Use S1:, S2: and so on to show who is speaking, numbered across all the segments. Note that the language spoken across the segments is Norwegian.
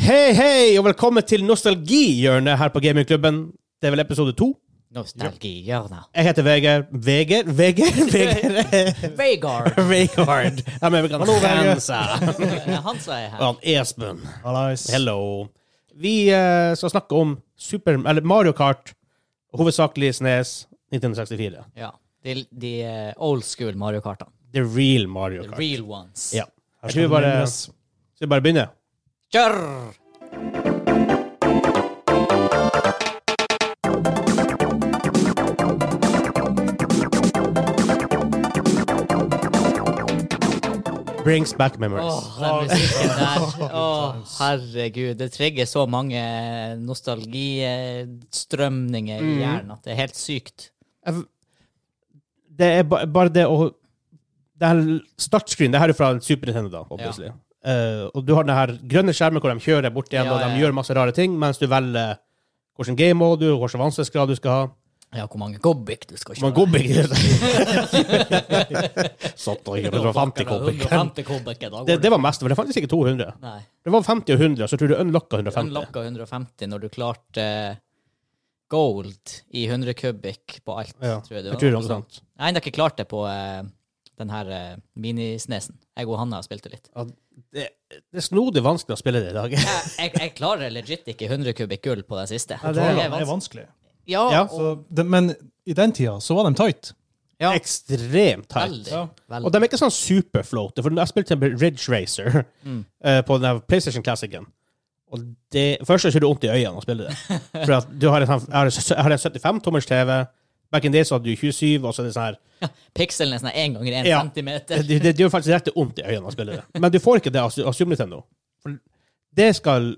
S1: hei, hei, og velkommen til nostalgihjørnet her på Gamingklubben. Det er vel episode to.
S2: Nostalgihjørnet.
S1: Jeg heter Vegard Veger Veger? Veger?
S2: Vegard.
S1: Vegard. Jeg mener,
S3: Hallo, Vegard.
S1: Hansa.
S2: Hansa er her.
S1: Og han Espen.
S3: Hallais.
S1: Hello. Vi eh, skal snakke om Super, eller Mario Kart, hovedsakelig Snes 1964.
S2: Ja. De, de eh, old school Mario Kartene.
S1: The real Mario
S2: The
S1: Kart.
S2: real ones.
S1: Ja.
S3: Her
S1: Skal vi
S3: kommer
S1: bare,
S3: Jonas.
S1: skal vi bare begynne?
S2: Kjør!
S1: Brings back
S2: Åh,
S1: memories.
S2: den musikken der. Åh, herregud. Det trigger så mange eh, nostalgistrømninger
S1: Mm.
S2: i hjernen at det er helt sykt.
S1: Jeg- Det er ba bare det å Det her startscreen, det her er fra en Super Nintendo, da, obviously. Eh, og du har den her grønne skjermen hvor de kjører bort igjen,
S2: Ja,
S1: og de
S2: ja, ja.
S1: gjør masse rare ting, mens du velger hvilken game må du, og hvilken vanskelighetsgrad du skal ha.
S2: Ja, hvor mange gobbik du skal
S1: Man
S2: kjøre.
S1: gobber ikke Satt og gjorde 150 kobbik.
S2: 150 gobbik i dag.
S1: Det, det var mest, for det fantes ikke 200.
S2: Nei.
S1: Det var 50 og 100, og så tror jeg du unlocka 150.
S2: Unlocka 150 når du klarte eh, gold i 100 kubikk på alt,
S1: Ja,
S2: tror jeg det
S1: jeg
S2: var.
S1: tror det var sånn. sant.
S2: Jeg har ennå ikke klart det på eh, den her eh, minisnesen. Jeg og Hanna spilte litt.
S1: Ja, Det, det er snodig vanskelig å spille det i dag.
S2: Jeg, jeg, jeg klarer legit ikke 100 kubikk gull på den siste.
S1: Nei, det
S3: Det
S1: er
S2: Det er
S3: er
S2: vanskelig.
S3: vanskelig.
S2: Ja,
S1: Ja.
S2: og-
S3: Så, det, men i den tida så var de tight.
S2: ja.
S1: Ekstremt teit.
S2: Veldig.
S3: Ja.
S1: Og
S2: veldig.
S1: de er ikke sånn superfloate, for jeg spilte en Ridge Racer eh, på den der PlayStation Classicen. Og det, først så gjør det vondt i øynene å spille det. For at du har en, sånn- jeg har en sø- jeg har en 75-tommers TV. Back in days så hadde du 27, og så er det sånn her
S2: Pikselen er sånn én ganger én
S1: Ja.
S2: centimeter.
S1: Det, det, det gjør faktisk rett vondt i øynene å spille det. Men du får ikke det av, Su- av Super Nintendo. For det skal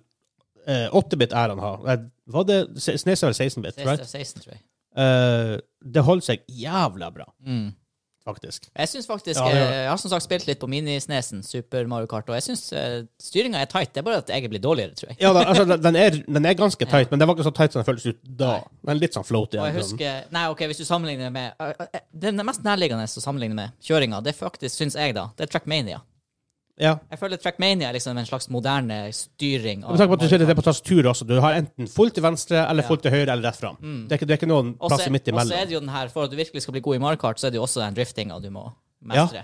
S1: eh, 8-bit-æren ha. Nei, Var det Se- Snes eller 16-bit?
S2: Det er
S1: Right?
S2: 16, tror jeg.
S1: Eh, det holder seg jævla bra,
S2: Mm.
S1: faktisk.
S2: Jeg synes faktisk,
S3: Ja, det gjør
S2: eh, jeg har som sagt spilt litt på minisnesen, Super Mario Kart, og jeg syns uh, styringa er tight. Det er bare at jeg blir dårligere, tror jeg.
S1: Ja, da, altså, den, er, den er ganske tight, men den var ikke så tight som den føltes ut da. Den er litt sånn floaty.
S2: Og jeg
S1: sånn.
S2: husker, nei, ok, Hvis du sammenligner det med eh, eh, Den er mest nærliggende å sammenligne med kjøringa, det er faktisk, syns jeg, da, det er Trackmania.
S1: Ja.
S2: Jeg føler Trackmania er liksom en slags moderne styring. av
S1: Med tanke på at du
S2: Mario
S1: ser det
S2: Kart.
S1: på tastatur også. Du har enten fullt til venstre eller fullt til høyre eller rett fram. Det, er ikke- det er ikke noen
S2: Mm. Og
S1: plass
S2: så-
S1: midt
S2: Og så er
S1: imellom.
S2: det jo den her, for at du virkelig skal bli god i Mario Kart, så er det jo også den driftinga du må mestre.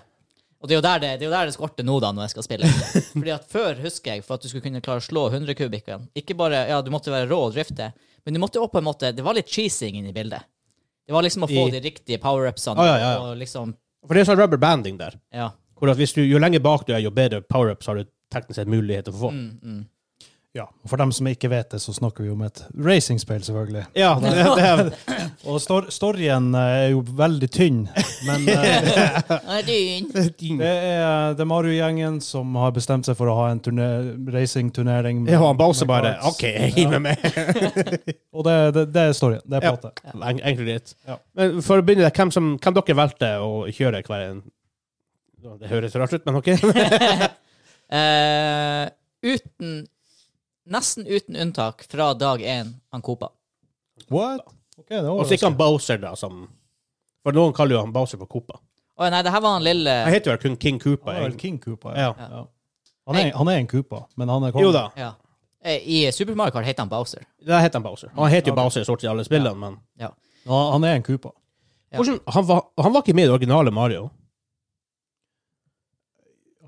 S2: Og det er, jo der det, det er jo der det skorter nå, da, når jeg skal spille. Fordi at Før husker jeg, for at du skulle kunne klare å slå 100 kubikken Ikke bare, ja, Du måtte være rå og drifte, men du måtte også på en måte Det var litt cheesing inni bildet. Det var liksom å få
S1: I-
S2: de riktige power-upsene.
S1: Ah, ja, ja, ja.
S2: Og liksom,
S1: For det er sånn rubber banding der.
S2: ja.
S1: Hvor at hvis du, Jo lenger bak du er, jo bedre power-ups har du teknisk sett muligheter for å få.
S2: Mm.
S3: Ja. Og for dem som ikke vet det, så snakker vi om et racingspill, selvfølgelig.
S1: Ja, det, det er,
S3: Og stor storyen eh, er jo veldig tynn, men eh,
S2: Ah, dyn.
S3: det er, eh, det er Mario-gjengen som har bestemt seg for å ha en turne- racingturnering. med-
S1: ja, han Bowser
S3: med
S1: bare
S3: cards.
S1: OK, jeg hiver meg.
S3: Og det, det, det er storyen. Det er
S1: Ja.
S3: plottet.
S1: Eng- Egentlig litt.
S3: Ja.
S1: Men for å begynne, der, hvem, som, hvem dere valgte å kjøre hver en Det høres rart ut, men OK.
S2: Eh, uten Nesten uten unntak fra dag én Ankopa.
S3: What? Ok, det
S1: Og så ikke
S3: var
S1: han Bowser, da, som For noen kaller jo han Bowser for Koopa.
S2: Å nei, det her var han lille
S1: Han heter jo kun King Koopa.
S3: Han er vel
S1: egentlig.
S3: King Koopa.
S1: Ja.
S3: Ja. Han, er, han er en Koopa, men han er kongen.
S1: Jo da,
S2: ja. Eh, I Super Mario Kart heter han Bowser.
S1: da heter han Bowser. Han heter jo
S3: Ok.
S1: Bowser i stort sett i alle spillene, men
S2: Ja.
S3: Han, han er en Koopa.
S2: Ja.
S1: Hvordan, han, var, han var ikke med i det originale Mario.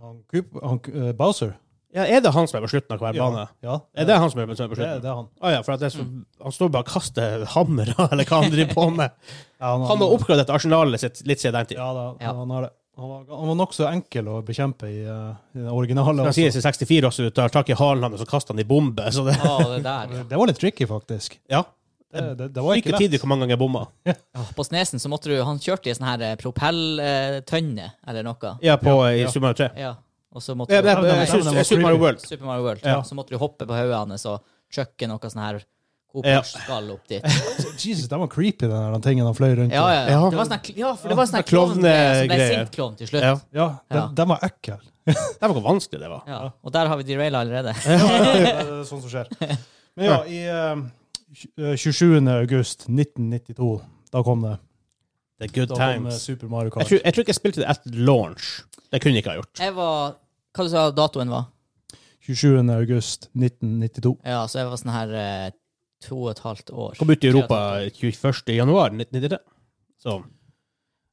S3: Han, Koopa han, eh, Bowser?
S1: Ja, er det han som er på slutten av hver bane?
S3: Ja.
S1: Er det han som er på som er på
S3: det,
S1: slutten?
S3: det er han.
S1: Å ja, for at det er så, han står bare og kaster hammer, eller hva han driver på med.
S3: Ja, han,
S1: Han har oppgradert arsenalet sitt litt siden den tid.
S3: Ja, da,
S2: Ja.
S3: han har det. Han var, han var nokså enkel å bekjempe i, eh, i det originale.
S1: Han sier
S3: Også.
S1: i 64 også, du tar tak i halen hans og så kaster han i bombe. Så det,
S2: Å, det der, ja.
S3: Det var litt tricky, faktisk.
S1: ja.
S3: Det, det, det var ikke
S1: Ikke
S3: lett.
S1: tidlig hvor mange ganger jeg bomma.
S2: På Snesen så måtte du Han kjørte i sånn her eh, propelltønne eller noe.
S1: Ja, på i Super Mario 3.
S2: Ja. Og så måtte
S1: Ja, det er,
S2: du
S1: det er,
S3: den var
S1: Super- Super Mario
S3: creepy.
S1: World.
S2: Super Mario World.
S1: Ja.
S2: Så måtte du hoppe på hodet hans og chucke noe sånn her
S1: Ja.
S2: Cooper-skall opp dit.
S3: Jesus, den var creepy, den, der, den tingen han fløy rundt
S2: Ja,
S3: i.
S2: ja. ja.
S1: Ja.
S2: Det var sånn, her kl- ja, for det var sånn her
S1: Ja, klovne-
S2: klovngreier som ble
S1: greier.
S2: sint klovn til slutt.
S1: Ja.
S3: Ja, den,
S2: Ja.
S3: den var ekkel.
S1: Det var hvor vanskelig det var.
S2: Ja. Og der har vi deraila allerede.
S3: det er sånn som skjer. Men ja, i eh, tj- eh, 27. august 1992, da kom det.
S1: The good
S3: Da kom eh,
S1: times.
S3: Super Mario
S1: Jeg
S3: Kart.
S1: tror, jeg tror ikke jeg spilte det etter launch. Det kunne jeg ikke ha gjort.
S2: Jeg var Hva du sa datoen var?
S3: 27. august 1992.
S2: Ja, så jeg var sånn her eh, to og et halvt år.
S1: Kom ut i Europa 21. januar 1993. Så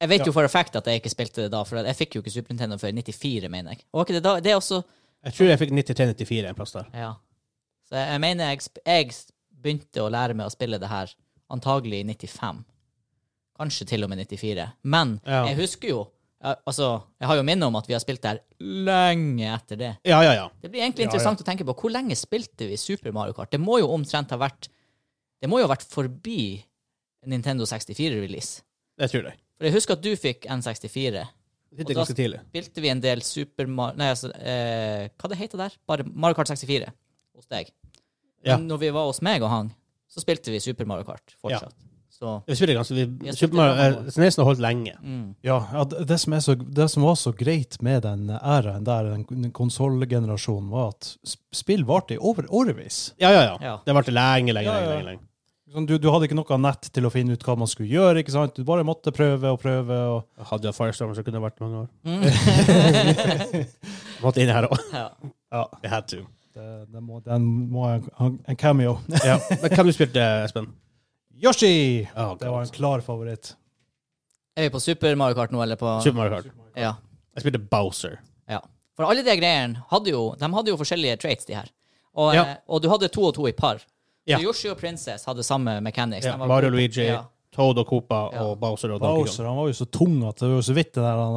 S2: Jeg vet
S3: Ja.
S2: jo for a fact at jeg ikke spilte det da, for jeg fikk jo ikke Super Nintendo før 94, mener jeg. Og var ikke det da, det er også
S1: jeg tror jeg fikk 93-94 en plass der.
S2: Ja. Så jeg, jeg mener jeg, sp- jeg s- begynte å lære meg å spille det her antagelig i 95. Kanskje til og med 94. Men
S1: Ja.
S2: jeg husker jo ja, Altså, jeg har jo minne om at vi har spilt det her lenge etter det.
S1: Ja, ja, ja.
S2: Det blir egentlig
S3: Ja,
S2: interessant å tenke på. Hvor lenge spilte vi Super Mario Kart? Det må jo omtrent ha vært Det må jo ha vært forbi Nintendo 64-release.
S1: Det tror jeg.
S2: For jeg husker at du fikk N64.
S1: Det
S2: Og da-
S1: er ganske tidlig.
S2: Spilte vi en del Super Mario Nei, altså eh, Hva det heter det der? Bare Mario Kart 64 hos deg.
S1: Ja.
S2: Men når vi var hos meg og han, så spilte vi Super Mario Kart fortsatt. Så
S1: Vi spiller ganske vi,
S2: har spilt
S1: Super Mario-
S2: det
S1: eh, Snesen har holdt lenge.
S2: mm.
S3: Ja, ja det, det, som er så, det som var så greit med den æraen der, den konsollgenerasjonen, var at sp- spill varte i over, årevis.
S1: Ja, ja, ja.
S2: Ja.
S1: Det har vært lenge, lenge,
S3: Ja, ja.
S1: lenge. lenge, lenge.
S3: Sånn, Du, du hadde ikke noe nett til å finne ut hva man skulle gjøre. ikke sant? Du bare måtte prøve og prøve. og...
S1: Hadde jeg Firestorm, så kunne det vært mange år.
S2: Mm.
S1: Måtte inn her òg.
S2: ja.
S3: Ja,
S1: Jeg had to.
S3: det, det må, den må ha en, en cameo.
S1: Ja. Men hvem du spilte, Espen?
S3: Yoshi!
S1: Oh,
S3: Det var en klar favoritt.
S2: Er vi på Super Mario Kart nå, eller på
S1: Super Mario Kart.
S2: Ja.
S1: Jeg spilte Bowser.
S2: For alle de greiene hadde jo De hadde jo forskjellige traits, de her. Og,
S1: Ja.
S2: eh, og du hadde to og to i par.
S1: Ja.
S2: Så Yoshi og Princess hadde samme mechanics.
S1: Ja,
S2: De var
S1: Mario,
S2: gode.
S1: Luigi,
S2: Ja.
S1: Toad og Copa
S2: Ja.
S1: og Bowser og Donkey Kong.
S3: Bowser han var jo så tung at det var jo så vidt det der han,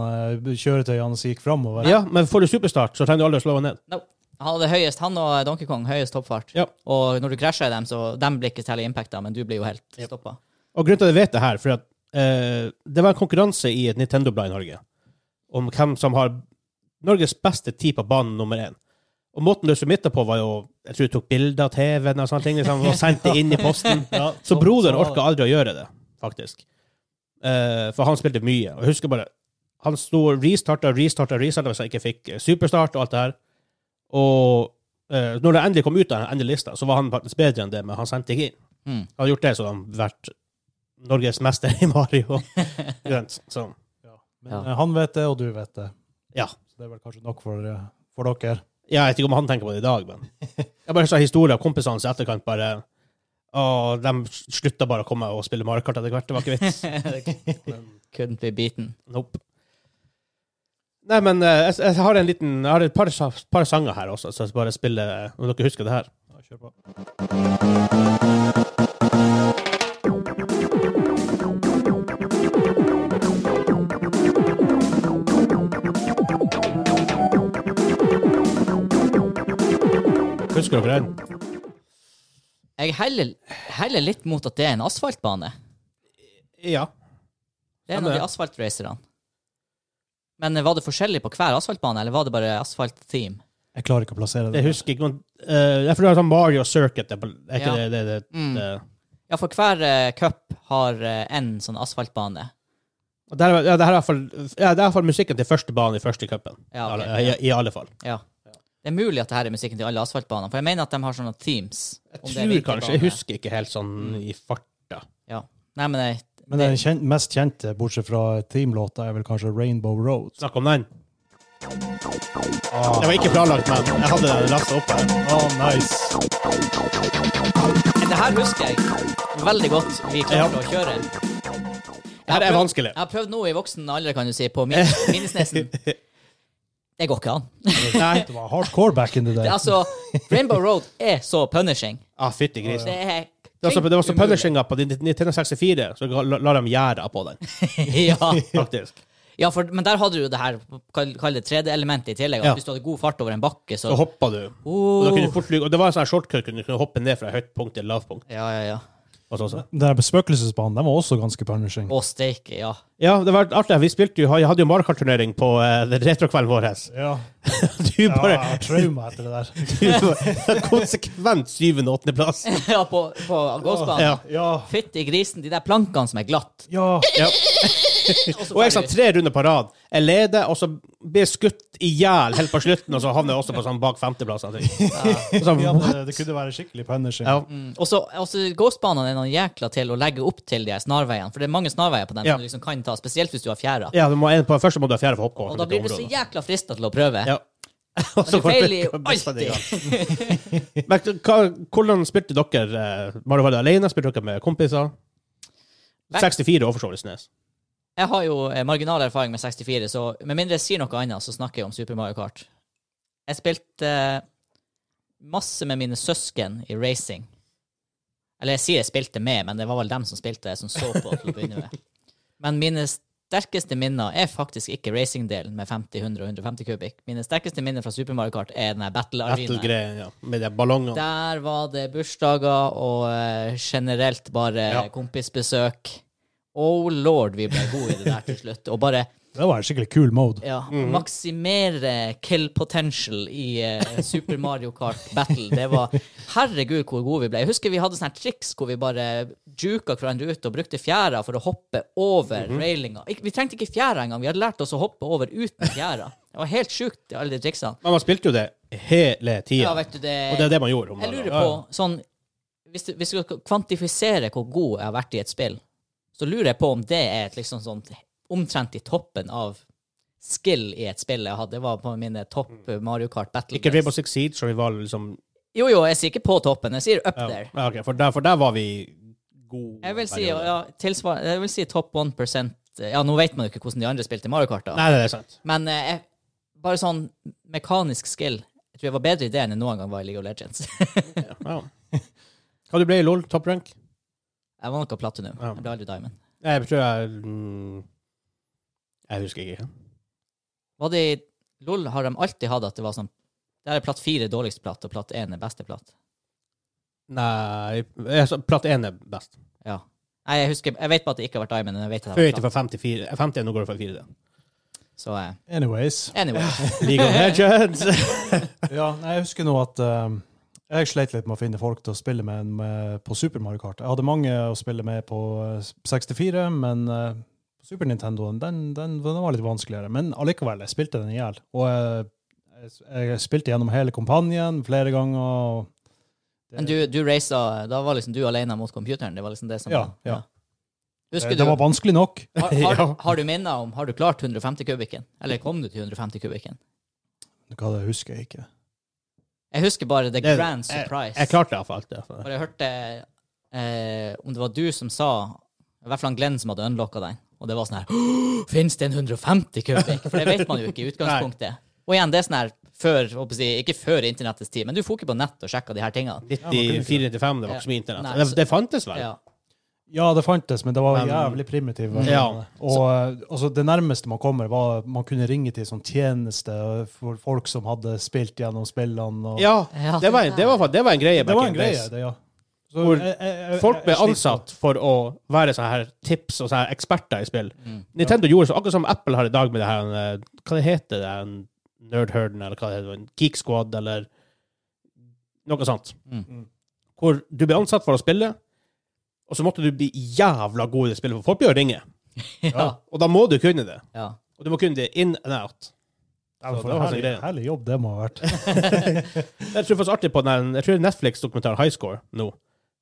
S3: eh, kjøretøyet hans gikk framover.
S1: Ja, men får du superstart, så trenger du aldri å slå han ned.
S2: Han hadde høyest, han og Donkey Kong høyest toppfart.
S1: Ja.
S2: Og når du krasja i dem, så de blir ikke særlig impacta, men du blir jo helt
S1: Yep.
S2: stoppa.
S1: Og grunnen til at jeg vet det her, for at, eh, det var en konkurranse i et Nintendo-blad i Norge om hvem som har Norges beste tid på banen nummer én. Og måten du submitta på, var jo Jeg tror du tok bilder av TV-en og sånne ting. Liksom, og sendte det inn i posten.
S3: Ja,
S1: Så broderen
S3: var det.
S1: orka aldri å gjøre det, faktisk. Eh, for han spilte mye. Og jeg husker bare Han sto og restarta og restarta og restarta hvis han ikke fikk eh, superstart og alt det her. Og eh, når det endelig kom ut av den endelige lista, så var han faktisk bedre enn det, men han sendte ikke inn.
S2: Mm.
S1: Hadde gjort det, så hadde han vært Norges mester i Mario. Ikke sant? så,
S3: Men eh, han vet det, og du vet det.
S1: Ja.
S3: Så det er vel kanskje nok for, eh, for dere.
S1: ja, jeg vet ikke om han tenker på det i dag, men jeg bare sa historier av kompisene hans i etterkant bare Og de slutta bare å komme og spille Mario Kart etter hvert. Det var ikke vits. Men,
S2: Couldn't be beaten.
S1: Nope. Nei, men eh, jeg, jeg har en liten Jeg har et par, sa- par sanger her også, så jeg skal bare spille eh, om dere husker det her.
S3: Ja, kjør på.
S1: Husker dere den?
S2: Jeg heller, heller litt mot at det er en asfaltbane.
S1: Ja.
S2: Det
S1: Ja,
S2: er en av
S1: det-
S2: de asfaltracerne. Men eh, var det forskjellig på hver asfaltbane, eller var det bare asfalt-theme?
S3: Jeg klarer ikke å plassere det.
S1: Jeg husker ikke men, eh, Jeg tror det er sånn Mario Circuit. Det er på- er ikke
S2: Ja.
S1: det, det, det,
S2: Mm.
S1: det.
S2: Ja, for hver eh, cup har én sånn asfaltbane.
S1: Og der, var- ja, det her er i hvert fall ja, det er i hvert fall musikken til første banen i første cupen.
S2: Ja, ok.
S1: Alle- i, I alle fall.
S2: Ja. Det er mulig at det her er musikken til alle asfaltbanene, for jeg mener at de har sånne themes. om
S1: Jeg
S2: det er
S1: tror
S2: vinterbane.
S1: kanskje Jeg husker ikke helt sånn i farta.
S2: Ja. Nei, men jeg,
S3: Men den kjen mest kjente, bortsett fra teamlåta, er vel kanskje Rainbow Road.
S1: Snakk om den. Ah. Det var ikke planlagt, men jeg hadde lasta opp her.
S3: Oh, nice.
S2: det her husker jeg veldig godt vi klarte å kjøre.
S1: Det her er vanskelig.
S2: Jeg har prøvd nå i voksen alder, kan du si, på min, minnesnesen. Det går ikke an.
S1: Nei.
S3: Det var hardcore back in the day.
S2: Det, er altså, Rainbow Road er så punishing.
S1: Ah, fytti grisen.
S2: Det er
S1: Det var så, det var så
S2: klink
S1: punishinga på din- 1964, så la, la de gjæra på den,
S2: umulig. ja.
S1: faktisk.
S2: ja, for, men der hadde du det her, kall kall det tredje elementet i tillegg. At
S1: Ja.
S2: Hvis du hadde god fart over en bakke, så
S1: Så hoppa du. Og, da
S2: Oh.
S1: kunne du fort, lykke- og det var en sånn shortcut, kunne du kunne hoppe ned fra høyt punkt til lavt punkt.
S2: Ja, ja, ja.
S1: Og sånn, så, så.
S3: Den der spøkelsesbanen den var også ganske punishing.
S2: Å, steike, ja.
S1: Ja, det var artig. Vi spilte jo, jeg hadde jo Mario Kart-turnering på eh, den retrokvelden vår.
S3: Ja,
S1: Du
S3: ja
S1: bare
S3: jeg har trauma etter det der.
S1: du var konsekvent syvende- og åttendeplass.
S2: ja på, på gåsbanen.
S1: Ja.
S3: Ja,
S2: Fytti grisen, de der plankene som er glatt.
S3: ja.
S1: Ja.
S2: så
S1: Og jeg sa
S2: ferdig.
S1: tre runder på rad. Jeg leder, og så blir jeg skutt i hjel helt på slutten, og så havner jeg også på sånn bak femteplass. jeg tror. Og så,
S3: ja det, det kunne være skikkelig punishing.
S1: Ja.
S2: Mm. Og så og så gåsbanene er noen jækla til å legge opp til de her snarveiene. For det er mange snarveier på den
S1: Ja.
S2: som du liksom kan ta, spesielt hvis du har fjæra.
S1: Ja, du må, en på første må du ha fjerde for hoppkål.
S2: Og da blir du så jækla frista til å prøve.
S1: Ja. Og så
S2: Det feiler
S1: var
S2: jo
S1: det-
S2: alltid.
S1: Men hva, hvordan spilte dere eh, Mario Valley alene? Spilte dere med kompiser?
S2: Back-
S1: 64 år for så vidt, Snes.
S2: Jeg har jo eh, marginal erfaring med 64, så med mindre jeg sier noe annet, så snakker jeg om Super Mario Kart. Jeg spilte eh, masse med mine søsken i racing. Eller jeg sier jeg spilte med, men det var vel dem som spilte, som så på til å begynne med. Men mine sterkeste minner er faktisk ikke racing-delen med 50, 100 og 150 kubikk. Mine sterkeste minner fra Super Mario Kart er den her battle arena.
S1: Battle-greien, ja. Med de ballongene.
S2: Der var det bursdager og eh, generelt bare
S1: Ja.
S2: kompisbesøk. Oh lord, vi ble gode i det der til slutt. Og bare
S3: Det var en skikkelig kul mode.
S2: ja,
S1: Mhm.
S2: maksimere kill potential i eh, Super Mario Kart Battle. Det var Herregud, hvor gode vi ble. Jeg husker vi hadde sånne her triks hvor vi bare juka hverandre ut og brukte fjæra for å hoppe over
S1: Mhm.
S2: railinga. Ikke- Vi trengte ikke fjæra engang. Vi hadde lært oss å hoppe over uten fjæra. Det var helt sjukt, alle de triksene.
S1: Men man spilte jo det hele tida.
S2: Ja, vet du, det-
S1: Og det er det man gjorde. om
S2: Jeg
S1: man-
S2: lurer
S1: ja, ja.
S2: på, sånn Hvis du, hvis du skal kvantifisere hvor god jeg har vært i et spill, så lurer jeg på om det er et liksom sånn omtrent i toppen av skill i et spill jeg hadde. Det var på mine topp Mario Kart battle
S1: Ikke
S2: days.
S1: Rainbow Six Siege, som vi var liksom
S2: Jo, jo, jeg sier ikke på toppen, jeg sier up
S1: ja.
S2: there.
S1: Ja, ok, for, der, for der var vi gode.
S2: Jeg vil si,
S1: perioder.
S2: ja, tilsvar, jeg vil si topp 1 Ja, nå vet man jo ikke hvordan de andre spilte i Mario Kart, da.
S1: Nei, det er sant.
S2: Men eh, jeg, bare sånn mekanisk skill Jeg tror jeg var bedre i det enn jeg noen gang var i League of Legends.
S1: Ja. Hva du ble i LOL? Top rank?
S2: jeg var noe platinum.
S1: Ja.
S2: Jeg ble aldri diamond.
S1: Nei, Jeg tror jeg mm, Jeg husker ikke.
S2: Var det i LOL har de alltid hatt at det var sånn Der er platt fire dårligst platt, og platt én er beste platt.
S1: Nei jeg sa Platt 1 er best.
S2: Ja. Nei, jeg husker Jeg vet bare at det ikke har vært Diamond, men jeg vet at
S1: Før
S2: det
S1: gikk
S2: har
S1: det
S2: vært
S1: fra 5 til 4. 50 er nå går det fra 4 til
S2: platt. Så eh,
S3: Anyways.
S2: anyway.
S1: League of Legends.
S3: Ja, nei, jeg husker nå at eh, jeg slet litt med å finne folk til å spille med, med på Super Mario Kart. Jeg hadde mange å spille med på eh, 64, men eh, Super Nintendoen den, den, den var litt vanskeligere. Men allikevel, jeg spilte den i hjel. Og jeg, jeg, jeg spilte gjennom hele kampanjen flere ganger. og det-
S2: Men du, du raisa Da var liksom du alene mot computeren. Det var liksom det som
S3: Ja, ja.
S2: Husker
S1: Eh,
S3: det,
S2: du
S3: det var vanskelig nok.
S2: har, har,
S1: Ja.
S2: har du minner om Har du klart 150 kubikken? Eller kom du til 150 kubikken?
S3: Hva det husker jeg ikke.
S2: Jeg husker bare the
S1: Det-
S2: grand surprise.
S1: Jeg klarte iallfall alt altså. det.
S2: For jeg hørte eh, om det var du som sa I hvert fall han Glenn som hadde unlocka den. Og det var sånn her Fins det en 150 kubikk? For det vet man jo ikke i utgangspunktet. Og igjen, det er sånn her før, håper jeg å si, ikke før internettets tid, men du får ikke på nett og sjekka de her tingene.
S1: 94-95, det var ikke så mye internett.
S2: Nei,
S1: Det,
S2: så-
S1: det fantes vel?
S2: Ja.
S3: Ja, det fantes, men det var
S1: Men-
S3: jævlig primitiv. versjon.
S1: Ja.
S3: Og eh, altså, det nærmeste man kommer, var at man kunne ringe til sånn tjeneste for folk som hadde spilt gjennom spillene. Og...
S1: Ja,
S2: Ja,
S1: det var, en- det, var, fa- det var en greie.
S3: det var
S1: back in
S3: en greie,
S1: days.
S3: det, ja.
S1: Hvor
S3: jeg- jeg- jeg-
S1: Folk ble
S3: jeg sliter.
S1: ansatt for å være sånne her tips og sånne her eksperter i spill.
S2: Mm.
S1: Nintendo gjorde så akkurat som Apple har i dag med det her eh, Hva det heter det? en Nerdherden, eller hva det heter en Geek Squad, eller noe sånt.
S2: Mm.
S1: Hvor du ble ansatt for å spille, og så måtte du bli jævla god i det spillet, for folk blir jo ringe.
S2: Ja.
S1: Og da må du kunne det.
S2: ja.
S1: Og du må kunne det in and out.
S3: Ja,
S1: Så
S3: for
S1: det var
S3: herlig,
S1: sånn greie.
S3: herlig jobb det må ha vært.
S1: Jeg tror faktisk artig på den, jeg tror Netflix-dokumentaren High Score nå,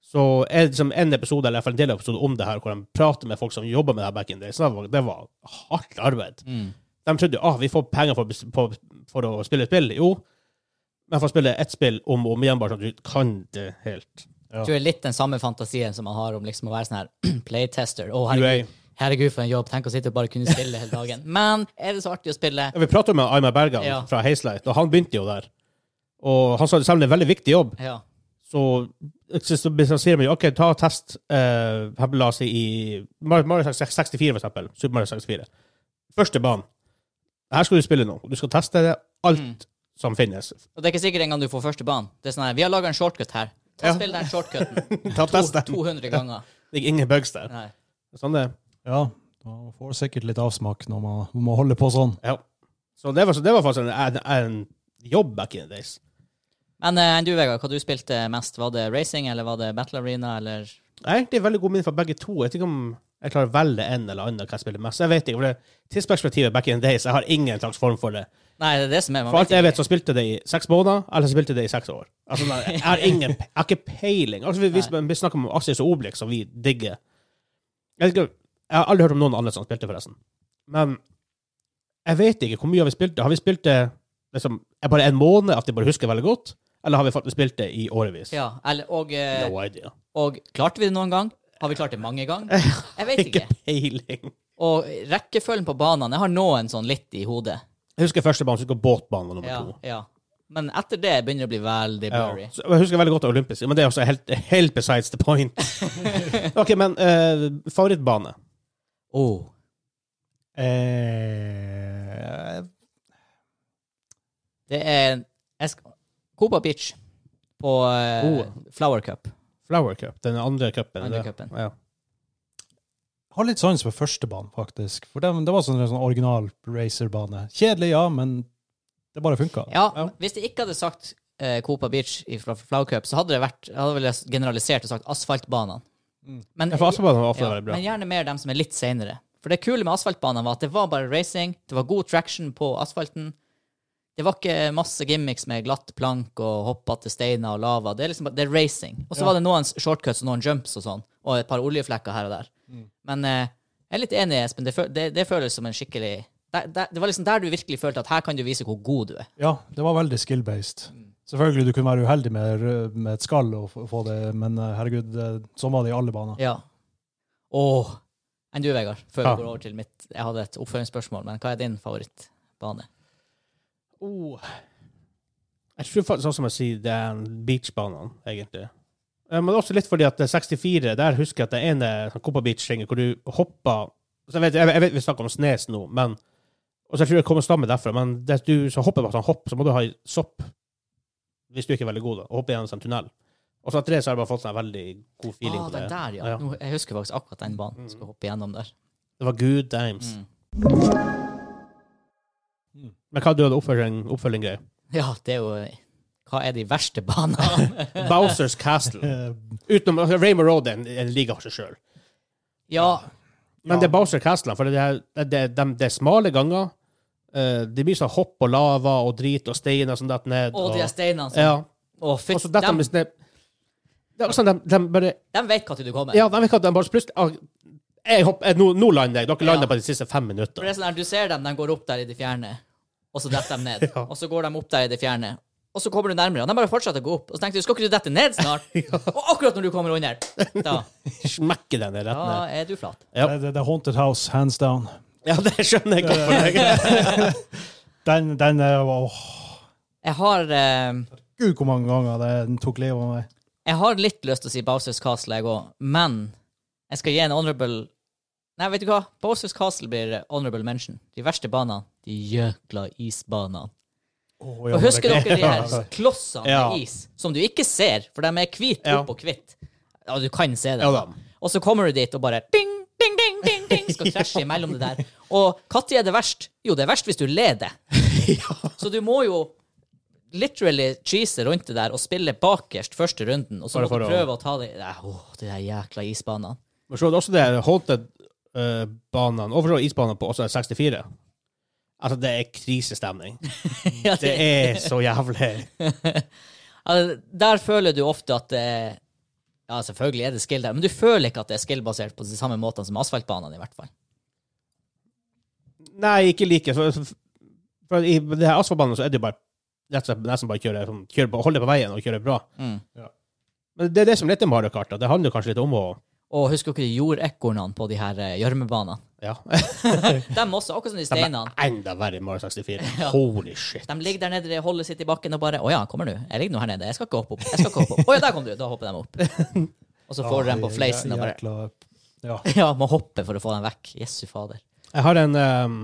S1: så er det liksom en episode, eller i hvert fall en del episode om det her, hvor de prater med folk som jobber med det her back in days. Så Det var, det var hardt arbeid.
S2: Mm.
S1: De trodde jo, ah, vi får penger for, å bes- på, for å spille et spill. Jo, men for å spille ett spill om og om igjen, bare sånn at du kan det helt.
S3: Ja.
S2: Tror jeg er litt den samme fantasien som man har om liksom å være sånn her playtester. Å,
S1: UA.
S2: herregud, herregud, for en jobb. Tenk å sitte og bare kunne spille hele dagen. Men er det så artig å spille?
S1: Ja, vi prater med Aymar Bergan
S2: Ja.
S1: fra Hazelight, og han begynte jo der. Og han sa det selv om det er en veldig viktig jobb,
S2: Ja.
S1: så, så, så, så sier man jo OK, ta test eh, her, La oss si i Mario, Mario 64, for eksempel. Super Mario 64. Første banen. Her skal du spille nå. Du skal teste det, alt
S2: Mm.
S1: som finnes.
S2: Og det er ikke sikkert engang du får første banen. Det er sånn her, Vi har laga en shortcut her. Ta
S1: Ja.
S2: Spill den shortcuten
S1: Ta test
S2: to,
S1: den.
S2: 200 ganger.
S1: Det er ingen bugs der.
S2: Nei.
S1: Sånn det.
S3: Ja, man får sikkert litt avsmak når man når man holder på sånn.
S1: Ja. Så det var, så det var faktisk en, en, en jobb back in the days.
S2: Men eh, du, Vegard, hva du spilte mest? Var det racing, eller var det Battle Arena, eller
S1: Jeg er veldig god minne for begge to. Jeg vet ikke om jeg klarer å velge en eller annen hva jeg spiller mest. Jeg vet ikke, for det Tidsperspektivet back in the days, jeg har ingen slags form for det.
S2: Nei, det er det som er man
S1: For alt
S2: vet
S1: jeg
S2: ikke.
S1: vet, så spilte det i seks måneder, eller så spilte det i seks år. Altså, nei, jeg har ingen pe- jeg har ikke peiling. Altså, vi, vi, vi snakker om Asis og Obelix, som vi digger. Jeg, vet ikke, jeg har aldri hørt om noen andre som spilte, forresten. Men jeg vet ikke hvor mye har vi spilt det. Har vi spilt det liksom, er bare en måned at de bare husker veldig godt? Eller har vi faktisk spilt det i årevis?
S2: Ja, eller, og, eh,
S1: No idea.
S2: og klarte vi det noen gang? Har vi klart det mange ganger? Jeg vet
S1: Ikke
S2: ikke.
S1: peiling.
S2: Og rekkefølgen på banene Jeg har noen sånn litt i hodet.
S1: Jeg husker første bane, så husker jeg båtbane nummer
S2: Ja,
S1: to.
S2: ja. Men etter det begynner det å bli veldig blurry.
S1: Ja. Så Jeg husker veldig godt det olympiske, men det er også helt, helt besides the point. ok, men eh, favorittbane?
S2: Oh.
S3: Eh,
S2: Det er jeg skal, Copa Beach på eh,
S1: Oh.
S2: Flower Cup.
S1: Flower Cup, den andre cupen.
S2: Andre
S1: det-
S2: cupen.
S1: Ja.
S3: har litt sans for førstebanen, faktisk. For det, det var sånn, en sånn original racerbane. Kjedelig, ja, men det bare funka.
S2: Ja, hvis de ikke hadde sagt eh, Copa Beach fra Flower Cup, så hadde det vært jeg hadde vel generalisert og sagt asfaltbanene. Men,
S1: Ja, for Aspebanen var ofte
S2: ja,
S1: veldig bra.
S2: men gjerne mer dem som er litt seinere. For det kule med asfaltbanene var at det var bare racing, det var god traction på asfalten. Det var ikke masse gimmicks med glatt plank og hoppete steiner og lava. Det er liksom bare, det er racing. Og så var det noen shortcuts og noen jumps og sånn, og et par oljeflekker her og der.
S1: Mm.
S2: Men eh, jeg er litt enig, Espen. Det, føl det, det føles som en skikkelig der, der, Det var liksom der du virkelig følte at her kan du vise hvor god du er.
S3: Ja, det var veldig skill-based. Selvfølgelig, du kunne være uheldig med, med et skall og få- få det, men eh, herregud, eh, sånn var det i alle baner.
S2: Ja. Åh. Enn du, Vegard, før
S3: Ja.
S2: vi går over til mitt Jeg hadde et oppfølgingsspørsmål, men hva er din favorittbane?
S1: Oh. Jeg tror faktisk sånn som jeg sier, det er beachbanene, egentlig. Eh, Men også litt fordi at det er 64, der husker jeg at det ene sånn Copa Beach-ringet hvor du hopper så jeg, vet, jeg, jeg vet vi snakker om Snes nå, men og så jeg tror jeg kommer stammen derfra, men det, du som hopper bare sånn hopp, så må du ha i sopp hvis du ikke er veldig god, da, og hoppe gjennom en sånn tunnel. Og så etter det så har jeg bare fått sånn en veldig god feeling
S2: Ah,
S1: på det. Mm.
S2: den der, ja.
S1: Ja.
S2: Nå, jeg husker faktisk akkurat den banen. Skal hoppe gjennom der.
S1: Det var good times.
S2: Mm.
S1: Men hva hadde du hadde oppfølging, oppfølging gøy?
S2: Ja, det er jo Hva er de verste banene?
S1: Bowsers Castle.
S3: Eh,
S1: Utenom altså, Raymer Road er en, en liga for seg sjøl.
S2: ja,
S1: Men det er Bowser Castle, for det er, det, det, de, det er smale ganger. Eh, det blir sånn hopp og lava og drit og steiner som detter ned.
S2: og de steinene som
S1: ja.
S2: Å, fytt,
S1: og så detter de
S2: dem,
S1: hvis det- Det er også sånn, de, de bare
S2: dem vet når du kommer.
S1: Ja, de vet ikke at de bare plutselig ah, jeg hopp, eh, Nå nå lander jeg. Dere
S2: Ja.
S1: lander på de siste fem
S2: For det
S1: minuttene.
S2: er sånn her, Du ser dem, de går opp der i det fjerne, og så detter de ned.
S1: Ja.
S2: Og så går de opp der i det fjerne, og så kommer du nærmere. Og de bare fortsetter å gå opp. Og så tenkte du, skal ikke du dette ned snart? Og akkurat når du kommer under, da,
S1: Smekker den ned rett
S2: da
S1: ned.
S2: er du flat.
S1: Ja.
S3: Det, det, det er Haunted House, hands down.
S1: Ja, det skjønner jeg godt. for deg.
S3: Den, den er åh,
S2: Jeg har eh,
S3: Gud, hvor mange ganger det, den tok livet av meg.
S2: Jeg har litt lyst til å si Bowsers Castle, jeg òg, men jeg skal gi en honorable Nei, vet du hva? Bowsers Castle blir honorable mention. De verste banene. De jøkla isbanene.
S3: Åh,
S2: Og
S3: ja, men
S2: husker
S3: det-
S2: dere de
S3: Ja.
S2: her klossene
S1: Ja.
S2: med is som du ikke ser, for de er hvite
S1: Ja.
S2: opp og hvite? Ja, du kan se det.
S1: Ja da.
S2: Og så kommer du dit og bare ding, ding, ding, ding, ding, skal krasje imellom det der. Og når er det verst? Jo, det er verst hvis du leder. Så du må jo literally cheese rundt det der og spille bakerst første runden, og så
S1: Bare
S2: må du
S1: for å-
S2: prøve å ta det Nei, åh, de der jækla isbanene.
S1: Men så var det også det Haunted-banene, overfor isbanene på også 64. Altså, det er krisestemning.
S2: Ja,
S1: Det
S2: det-
S1: er så jævlig.
S2: altså, der føler du ofte at det er Ja, selvfølgelig er det skill der, men du føler ikke at det er skill-basert på de samme måtene som asfaltbanene, i hvert fall.
S1: Nei, ikke like. Så, så- for I det her asfaltbanen så er det jo bare rett og slett nesten bare å kjøre, sånn, kjøre på, holde på veien og kjøre bra.
S2: Mm.
S1: Men det er det som er litt med Mario Kart. da. Det handler jo kanskje litt om å
S2: Og husker dere jordekornene på de her eh, gjørmebanene?
S1: Ja.
S2: Dem også, akkurat som de
S1: De er
S2: steinene.
S1: enda verre enn Mario 64. Holy shit.
S2: De ligger der nede og holder sitt i bakken og bare 'Å ja, kommer du? Jeg ligger nå her nede. Jeg skal ikke hoppe opp.' jeg skal ikke hoppe opp. 'Å ja, der kom du.' Da hopper de opp. Og så får du dem på
S3: Ja,
S2: fleisen og bare
S3: jækla- Ja.
S2: Ja, må hoppe for å få dem vekk. Jesu fader.
S1: Jeg har en ehm,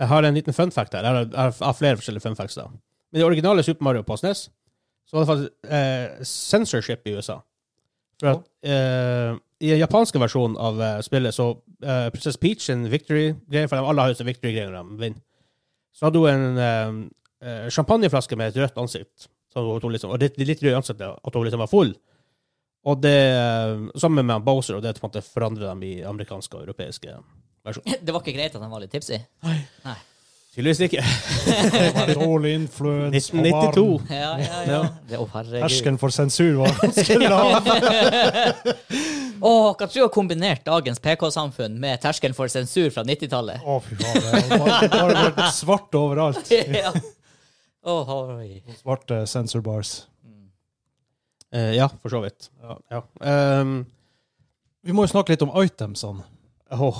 S1: Jeg har en liten fun fact her. Jeg har, jeg har flere forskjellige fun facts. da. Men i originale Super Mario på SNES så var det faktisk eh, censorship i USA. For at eh, I den japanske versjonen av eh, spillet så eh, Prinsesse Peach en victory-greie, for de alle har jo sånn victory-greier når de vinner. Så hadde hun en eh, eh, champagneflaske med et rødt ansikt, så hun tok liksom, og litt, litt rødt ansikt, at hun liksom var full. Og det, eh, sammen med Bowser, og det på en måte forandrer dem i amerikanske og europeiske versjoner.
S2: Det var ikke greit at han var litt tipsy.
S1: Tydeligvis ikke.
S3: Det var litt all influence. på
S1: 1992.
S2: Ja, ja, ja. Det, å,
S3: barn.
S2: herregud.
S3: Terskelen for sensur var ganske lav.
S2: Å, hva tror du har kombinert dagens PK-samfunn med terskelen for sensur fra 90-tallet?
S3: Å, fy faen. Det var bare, bare svart overalt.
S2: Ja. Åh, oi.
S3: Sånne Svarte sensor bars.
S2: Mm.
S1: Eh, ja, for så vidt.
S3: Ja.
S1: Ja. Um,
S3: Vi må jo snakke litt om itemsene.
S1: åh,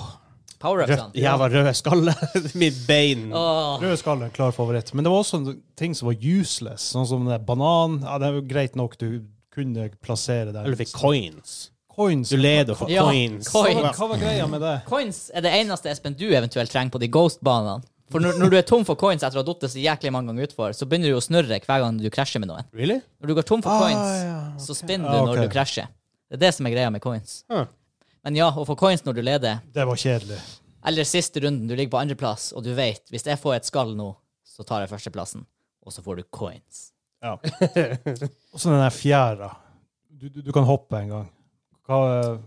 S2: Power-upsene.
S1: rødt, jævla røde skaller. Mitt bein.
S2: Åh.
S3: Rød skall er en klar favoritt, men det var også en ting som var useless, sånn som den der banan. Ja, det er jo greit nok du kunne plassere der.
S1: Eller fikk coins.
S3: coins.
S1: Du leder for
S2: Ja,
S1: coins.
S2: coins.
S3: Hva, hva var greia med det?
S2: Coins er det eneste Espen du eventuelt trenger på de ghost-banene. For når, når du er tom for coins etter å ha datt så jæklig mange ganger utfor, så begynner du å snurre hver gang du krasjer med noen.
S1: Really?
S2: Når du går tom for
S3: Ah,
S2: coins,
S3: ja,
S2: så spinner
S3: Ah,
S2: du når
S3: ok.
S2: du krasjer. Det er det som er greia med coins.
S1: Ah.
S2: Men ja, å få coins når du leder,
S3: Det var kjedelig.
S2: eller siste runden, du ligger på andreplass, og du vet hvis jeg får et skall nå, så tar jeg førsteplassen, og så får du coins.
S3: Ja. Og så den der fjæra. Du, du, du kan hoppe en gang. Hva eh,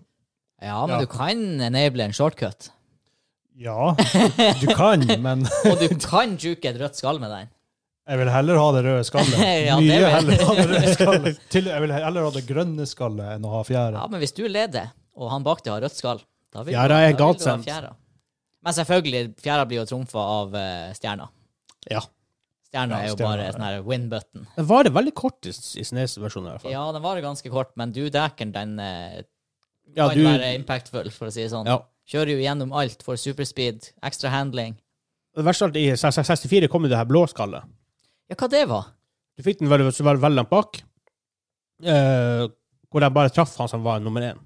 S2: Ja, men
S3: Ja.
S2: du kan enable en shortcut.
S3: Ja, du kan, men
S2: Og du kan juke et rødt skall med den.
S3: jeg vil heller ha det røde skallet.
S2: Ja, det
S3: Mye
S2: vil-
S3: heller ha det røde skallet. Til, jeg vil heller ha det grønne skallet enn å ha fjæra.
S2: Ja, men hvis du leder, og han bak deg har rødt skall, da vil,
S1: Fjæra er
S2: du, da
S1: en
S2: vil du ha
S1: godsend.
S2: fjæra. Men selvfølgelig, fjæra blir jo trumfa av eh, stjerna.
S1: Ja.
S2: Stjerna
S3: Ja,
S2: er jo
S3: stjerna,
S2: bare
S3: ja.
S2: sånn her win button.
S1: Den varer veldig kort i, i SNES-versjonen, i hvert fall.
S2: Ja, den varer ganske kort, men du dæken, den eh,
S1: Ja,
S2: kan
S1: du-
S2: være impactful, for å si det sånn.
S1: Ja.
S2: Kjører jo gjennom alt, får superspeed, ekstra handling.
S1: Det verste av alt, i 64 kom jo det her blå skallet.
S2: Ja, hva det var?
S1: Du fikk den veldig, veldig, veldig langt bak, eh, hvor de bare traff han som var nummer én.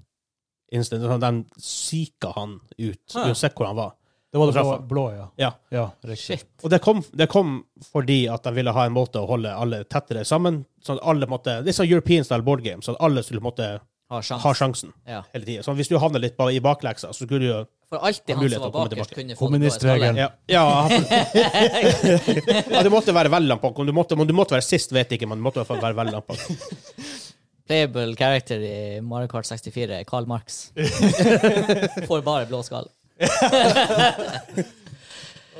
S1: Instant. Sånn, de sika han ut,
S2: Ah.
S1: uansett hvor han var.
S3: Det var det blå,
S1: Treffer.
S3: blå ja.
S1: Ja.
S3: ja riktig.
S2: Shit.
S1: Og det kom, det kom fordi at de ville ha en måte å holde alle tettere sammen. Sånn at alle måtte, Det er sånn European style board game, så at alle skulle måtte
S2: Har sjans.
S1: ha sjansen
S2: Ja.
S1: hele tida. Sånn, hvis du havner litt ba- i bakleksa, så skulle du jo
S2: For alltid
S1: Har
S2: han
S1: mulighet
S2: som var
S1: til å komme
S2: bakerst,
S1: tilbake.
S2: kunne få det blå
S3: Kommunistregelen.
S2: skallet.
S1: Ja, ja, ja det måtte være veldig langt bak. Om du måtte, om du måtte være sist, vet jeg ikke, men du måtte i hvert fall være veldig langt bak.
S2: Playable character i Mario Kart 64, Karl Marx. får bare blå skall.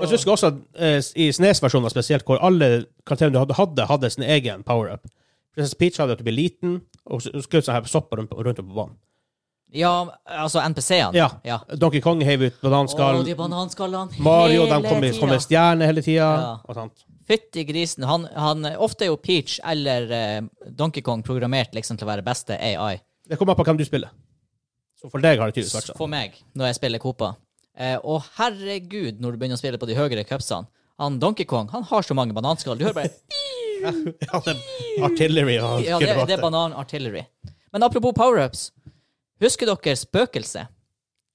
S1: Og så husker jeg også eh, i SNES-versjoner spesielt, hvor alle karakterene du hadde, hadde, hadde sin egen power-up. Prinsesse Peach hadde at du ble liten, og så skjøt sånn her sopper rundt, rundt om på banen.
S2: Ja, altså NPC-ene.
S1: Ja.
S2: ja.
S1: Donkey Kong heiv ut bananskall.
S2: Å, de bananskallene
S1: Mario, de
S2: hele
S1: kom med, kom
S2: tida.
S1: med stjerner hele tida.
S2: Ja.
S1: Og sånt.
S2: Fytti grisen. Han, han, ofte er jo Peach eller eh, Donkey Kong programmert liksom til å være beste AI.
S1: Det kommer an på hvem du spiller. Så for deg har det tydeligvis vært sånn.
S2: For meg, når jeg spiller Copa. Eh, og herregud, når du begynner å spille på de høyere cupsene Han Donkey Kong han har så mange bananskall. Du hører bare
S1: Ja, det er artillery og
S2: Ja, det, det er banan-artillery. Men apropos powerups. Husker dere spøkelset?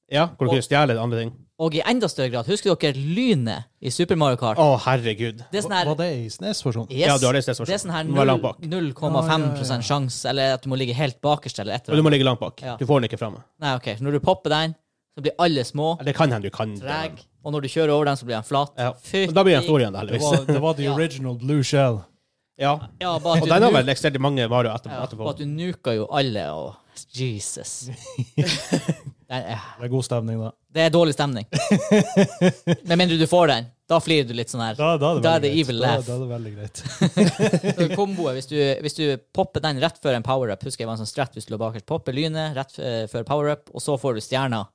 S1: Ja, hvor du kunne stjele andre ting.
S2: Og i enda større grad, husker dere lynet i Super Mario Kart?
S1: Å, herregud.
S2: Det er sånn
S3: Var
S2: her
S3: var det i SNES-versjonen?
S2: Yes.
S1: Ja, du har lest det som
S2: det er sånn her
S1: Du må være langt bak.
S2: 0,5
S3: Ja, ja, ja.
S2: sjanse, eller at du må ligge helt bakerst eller
S1: Og
S2: et
S1: du
S2: eller annet.
S1: må ligge langt bak.
S2: Ja.
S1: Du får den ikke fremme.
S2: Nei, ok. Så når du popper den, så blir alle små,
S1: Ja, Det kan hende du kan det,
S2: treg,
S1: men-
S2: og når du kjører over den, så blir den flat.
S1: Ja.
S2: Fytti-
S1: Men Da blir den stor igjen, da,
S3: Det
S1: heldigvis.
S3: var, det var the
S2: Ja.
S3: original blue shell.
S1: Ja.
S2: Ja, bare at
S1: Og
S2: du
S1: den har
S2: nu-
S1: vel eksistert i mange Mario etterpå.
S2: ja,
S1: etterpå.
S2: bare at du nuka jo alle, og Jesus. Den er,
S3: Det er god stemning, da.
S2: det er dårlig stemning. Med mindre du får den. Da flirer du litt sånn her.
S3: Da, da er det,
S2: Da er
S3: veldig
S2: det
S3: greit.
S2: evil
S3: Da-
S2: laugh.
S3: Da, er det veldig greit.
S2: Så Eh, Komboet, hvis du, hvis du popper den rett før en power-up Husker jeg var en sånn strett hvis du lå bakerst. Popper lynet rett eh, før power-up, og så får du stjerna.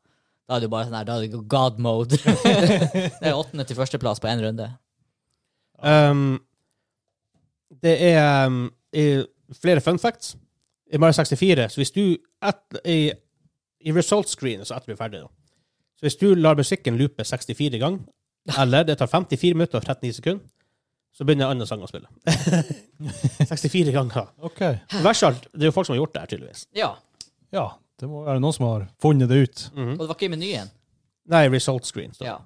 S2: Da er du bare sånn her, da er det god mode. det er åttende til førsteplass på én runde.
S1: Um, det er um, i flere fun facts. I Mario 64, så hvis du et, i, I result screen, så etter vi er ferdig da. Så hvis du lar musikken loope 64 ganger, eller det tar 54 minutter og 39 sekunder, så begynner en annen sang å spille. 64 ganger.
S3: Ok.
S1: Verst av alt, det er jo folk som har gjort det her, tydeligvis.
S2: Ja.
S3: Ja, det må være noen som har funnet det ut.
S1: Mhm.
S2: Og det var ikke i menyen.
S1: Nei, result screen. står det.
S2: Ja.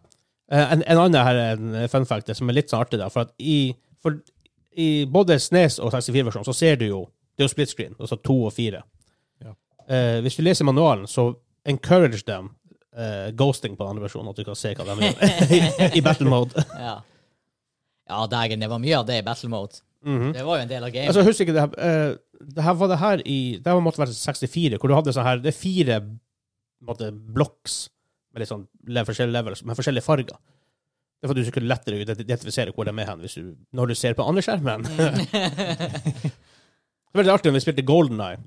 S1: Eh, En, en annen her er en eh, fun fact det som er litt sånn artig. Da, for at i, for I både Snes og 64-versjonen så ser du jo Det er jo split screen, altså to og fire.
S3: Ja.
S1: Eh, hvis du leser manualen, så encourage dem eh, ghosting på den andre versjonen, at du kan se hva de gjør i, i battle mode.
S2: Ja, ja dægen, det var mye av det i battle mode. Det var jo en del av gamet.
S1: Altså, husk ikke det her, eh, det her var det her i Det her måtte være 64, hvor du hadde sånn her Det er fire på en måte, blocks med litt sånn le- forskjellige levels, med forskjellige farger. Det er for at du skulle lettere ident- identifisere hvor de er hen, hvis du, når du ser på andre skjermen. Det var veldig artig når vi spilte Golden Eye,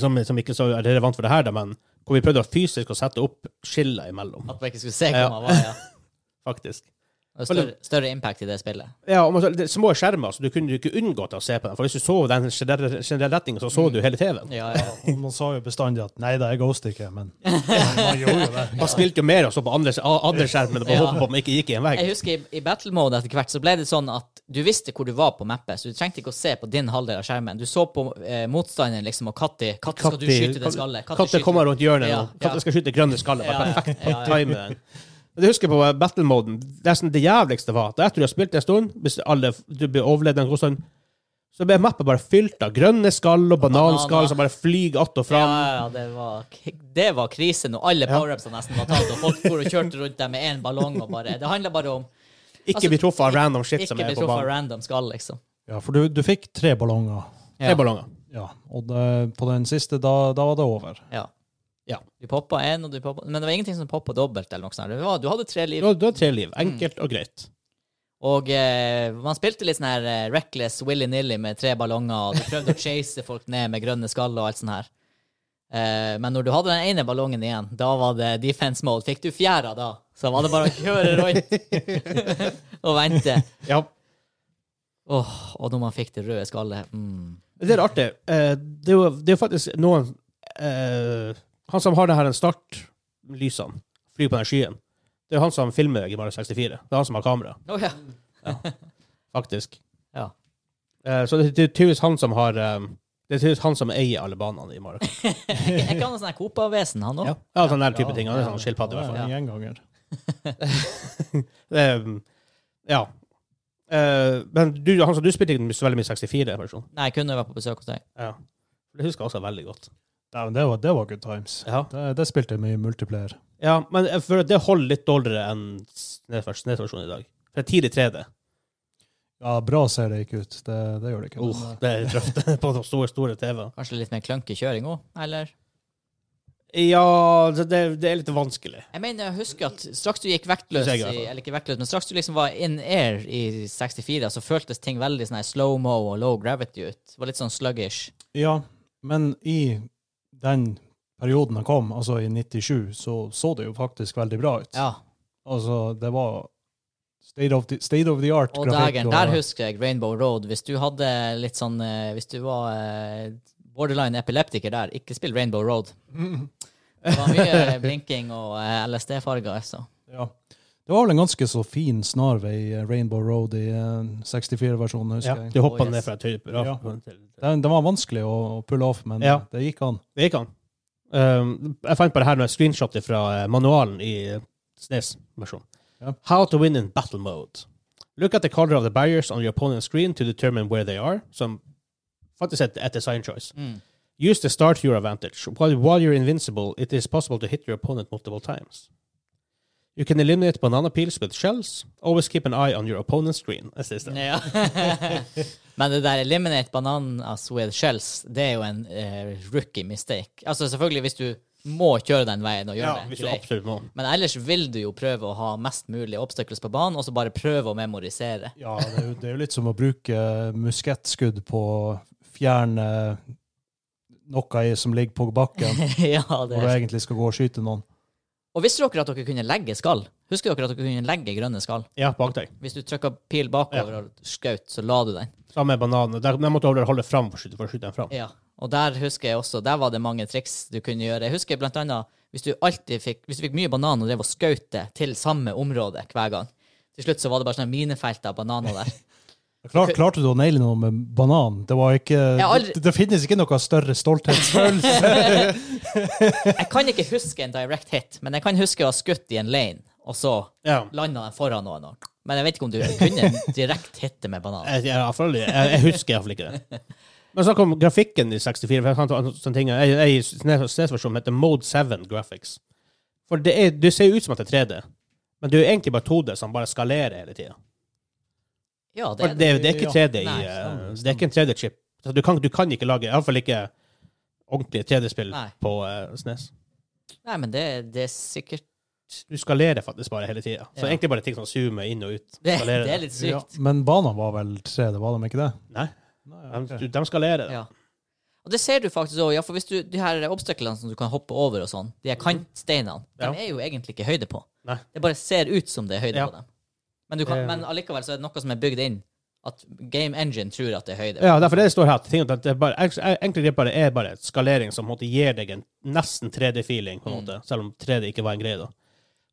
S1: som, som ikke så er relevant for det her, da, men hvor vi prøvde å fysisk å sette opp skiller imellom,
S2: At man ikke skulle se
S1: Ja.
S2: hvor man var. Ja.
S1: faktisk.
S2: Det er større, større impact i det spillet.
S1: Ja, og man, det er små skjermer, så du kunne jo ikke unngått å se på dem. For hvis du så den generelle generelle retningen, så så du hele TV-en.
S2: Ja, ja.
S3: Og Man sa jo bestandig at nei da, jeg ghoster ikke, men man gjorde jo det.
S1: Man spilte jo mer og så på andre, andre skjermen og
S2: Ja.
S1: håpet på at man ikke gikk i en vegg.
S2: Jeg husker i, i battle mode etter hvert så ble det sånn at du visste hvor du var på mappet, så du trengte ikke å se på din halvdel av skjermen. Du så på eh, motstanderen liksom, og Katti, Katti skal du skyte det skallet. Katti
S1: Katter
S2: skyter-
S1: kommer rundt hjørnet,
S2: Ja,
S1: og katter
S2: ja.
S1: skal skyte grønne skallet.
S2: Ja,
S1: Bare
S2: ja,
S1: perfekt
S2: ja, ja.
S1: time den. Men Jeg husker på uh, battle-moden. Det er sånn det jævligste var at etter du har spilt en stund, hvis alle, du blir overlevd en god stund, så ble mappet bare fylt av grønne skall og bananskall
S2: bananer.
S1: som bare flyr att og
S2: Ja,
S1: fram.
S2: ja, ja, det var, det var krise når alle power-upsene nesten var tatt, og folk for og kjørte rundt der med én ballong og bare Det handler bare om
S1: Ikke
S2: Altså,
S1: bli truffet av random shit
S2: ikke
S1: som er
S2: bli
S1: på
S2: truffet av
S1: banen.
S2: random skall, liksom.
S3: Ja, for du, du fikk tre ballonger.
S1: Tre ballonger.
S3: Ja, og det, på den siste, da, da var det over.
S2: Ja.
S1: Ja.
S2: Du poppa én, og du poppa Men det var ingenting som poppa dobbelt, eller noe sånt. Det var, du hadde tre
S1: Du
S2: liv.
S1: har du har tre liv. Enkelt
S2: Mm.
S1: og greit.
S2: Og eh, man spilte litt sånn her eh, reckless willy-nilly med tre ballonger, og du prøvde å chase folk ned med grønne skall og alt sånt her. Eh, men når du hadde den ene ballongen igjen, da var det defense mode. Fikk du fjæra da, så var det bare å kjøre rundt og vente.
S1: Ja.
S2: Åh, og når man fikk det røde skallet mm.
S1: Det er artig. Eh, Det er jo, det er jo faktisk noen eh, Han som har det her en start, lysene, flyr på den skyen, det er jo han som filmer i Mario 64. Det er han som har kamera,
S2: Å ja.
S1: faktisk.
S2: ja.
S1: Eh, Så det det er tydeligvis han som har eh, Det er tydeligvis han som eier alle banene i Mario. Kart.
S2: Er ikke han en sånn her Copa-vesen, han òg?
S1: Ja, sånn der type ting. Han er sånn skilpadde, i hvert fall.
S3: Ja, en gjenganger.
S1: Eh, Ja. Eh, Men du, han som du spilte ikke så veldig mye 64-versjon.
S2: Nei, jeg kunne vært på besøk hos deg.
S1: Ja. Det husker jeg også veldig godt.
S3: Ja, men det var, det var good times.
S1: Ja.
S3: Det, det spilte jeg mye multiplayer.
S1: Ja, men jeg føler at det holder litt dårligere enn Snes-versjonen i dag. For det er tidlig 3D.
S3: Ja, bra ser det ikke ut. Det, det gjør det ikke.
S1: Uh, det er trøft på de store, store TV-ene.
S2: Kanskje litt mer klønky kjøring òg, eller?
S1: Ja, det, det det er litt vanskelig.
S2: Jeg mener, jeg husker at straks du gikk vektløs
S1: Synes jeg i hvert
S2: i,
S1: fall.
S2: Eller ikke vektløs, men straks du liksom var in air i 64, så føltes ting veldig sånn her slow-mo og low gravity ut. Det var litt sånn sluggish.
S3: eh, Ja, men i den perioden han kom, altså i 97, så så det jo faktisk veldig bra ut.
S2: Ja.
S3: Altså, det var state of the, state of the art
S2: Og dagen der husker jeg Rainbow Road. Hvis du hadde litt sånn eh, Hvis du var eh, borderline epileptiker der, ikke spill Rainbow Road. Det var mye blinking og eh, LSD-farger, altså.
S3: Ja. Det var vel en ganske så fin snarvei, eh, Rainbow Road i
S1: Ja,
S3: 64-versjonen, husker jeg.
S1: du hoppa
S2: Å, yes.
S1: ned fra et høyt bra.
S3: Ja.
S1: til-
S3: Den, den var vanskelig å å pulle off, men
S1: Ja.
S3: det gikk an.
S1: Det gikk an. Um, jeg fant på det her med screenshot fra eh, manualen i SNES-versjonen.
S3: Ja.
S1: How to win in battle mode. Look at the color of the barriers on your opponent's screen to determine where they are, som faktisk er et- et design choice.
S2: Mm.
S1: Use the start to your advantage. While, while you're invincible, it is possible to hit your opponent multiple times. You can eliminate banana peels with shells. Always keep an eye on your opponent's screen. Jeg synes det.
S2: Ja. Men det der eliminate bananas with shells, det er jo en eh, rookie mistake. Altså selvfølgelig hvis du må kjøre den veien og gjøre
S1: Ja,
S2: det.
S1: hvis du
S2: greit.
S1: absolutt må.
S2: Men ellers vil du jo prøve å ha mest mulig obstacles på banen, og så bare prøve å memorisere.
S3: Ja, det er, jo, det er jo litt som å bruke eh, muskettskudd på å fjerne noe i- som ligger på bakken,
S2: ja, det
S3: når du egentlig skal gå og skyte noen.
S2: Og visste dere at dere kunne legge skall? Husker dere at dere kunne legge grønne skall?
S1: Ja, bak deg.
S2: Hvis du trykka pil bakover og skjøt, så la du den.
S1: Samme banan. Der, der måtte du holde fram for å skyte, for å skyte den fram.
S2: Ja. Og der husker jeg også, der var det mange triks du kunne gjøre. Jeg husker blant annet hvis du alltid fikk, hvis du fikk mye banan og drev og skjøt det til samme område hver gang. Til slutt så var det bare sånne minefelt av bananer der.
S3: Klar, klarte du å naile noe med banan? Det, var ikke,
S2: aldri-
S3: det, det finnes ikke noe større stolthetsfølelse.
S2: Jeg kan ikke huske en direct hit, men jeg kan huske å ha skutt i en lane, og så
S1: Ja.
S2: landa den foran noen. og- Men jeg vet ikke om du kunne direkte hitte med banan.
S1: Jeg, jeg, i hvert fall- jeg, jeg husker iallfall ikke det. Men snakk om grafikken i 64. for Jeg kan ta en sånn ting. Jeg, jeg, SNES-versjonen heter Mode 7 Graphics. For det, er, det ser jo ut som at det er 3D, men det er jo egentlig bare 2D som bare skalerer hele tida.
S2: Ja, det
S1: Det,
S2: er
S1: det,
S2: det.
S1: er ikke 3D i
S2: Nei, sånn,
S1: eh,
S3: stemmer,
S1: Det er ikke en 3D-chip. Så du, kan, du kan ikke lage Iallfall ikke ordentlige 3D-spill
S2: Nei.
S1: på eh, SNES.
S2: Nei, men det, det er sikkert
S1: Du skalerer faktisk bare hele tida. Så
S2: Ja.
S1: egentlig bare ting som zoomer inn og ut.
S2: det,
S1: Skalerer
S2: det er
S1: det.
S2: litt
S3: Ja,
S2: sykt.
S3: men banan var vel 3D, var de ikke det?
S1: Nei,
S3: Nei,
S1: de, de skalerer det.
S2: Ja. Og det ser du faktisk òg. Ja, for hvis du, de her obstaklene som du kan hoppe over og sånn, de her kantsteinene,
S1: Mhm. Ja.
S2: de er jo egentlig ikke høyde på.
S1: Nei.
S2: Det bare ser ut som det er høyde
S1: Ja.
S2: på dem. Men, du kan,
S1: Eh.
S2: men allikevel så er det noe som er bygd inn. At Game Engine tror at det er høyde.
S1: Ja, derfor det står her at ting- at det er bare, enkle grep bare er bare et skalering som på en måte gir deg en nesten 3D-feeling, på en
S2: Mm.
S1: måte, selv om 3D ikke var en greie da.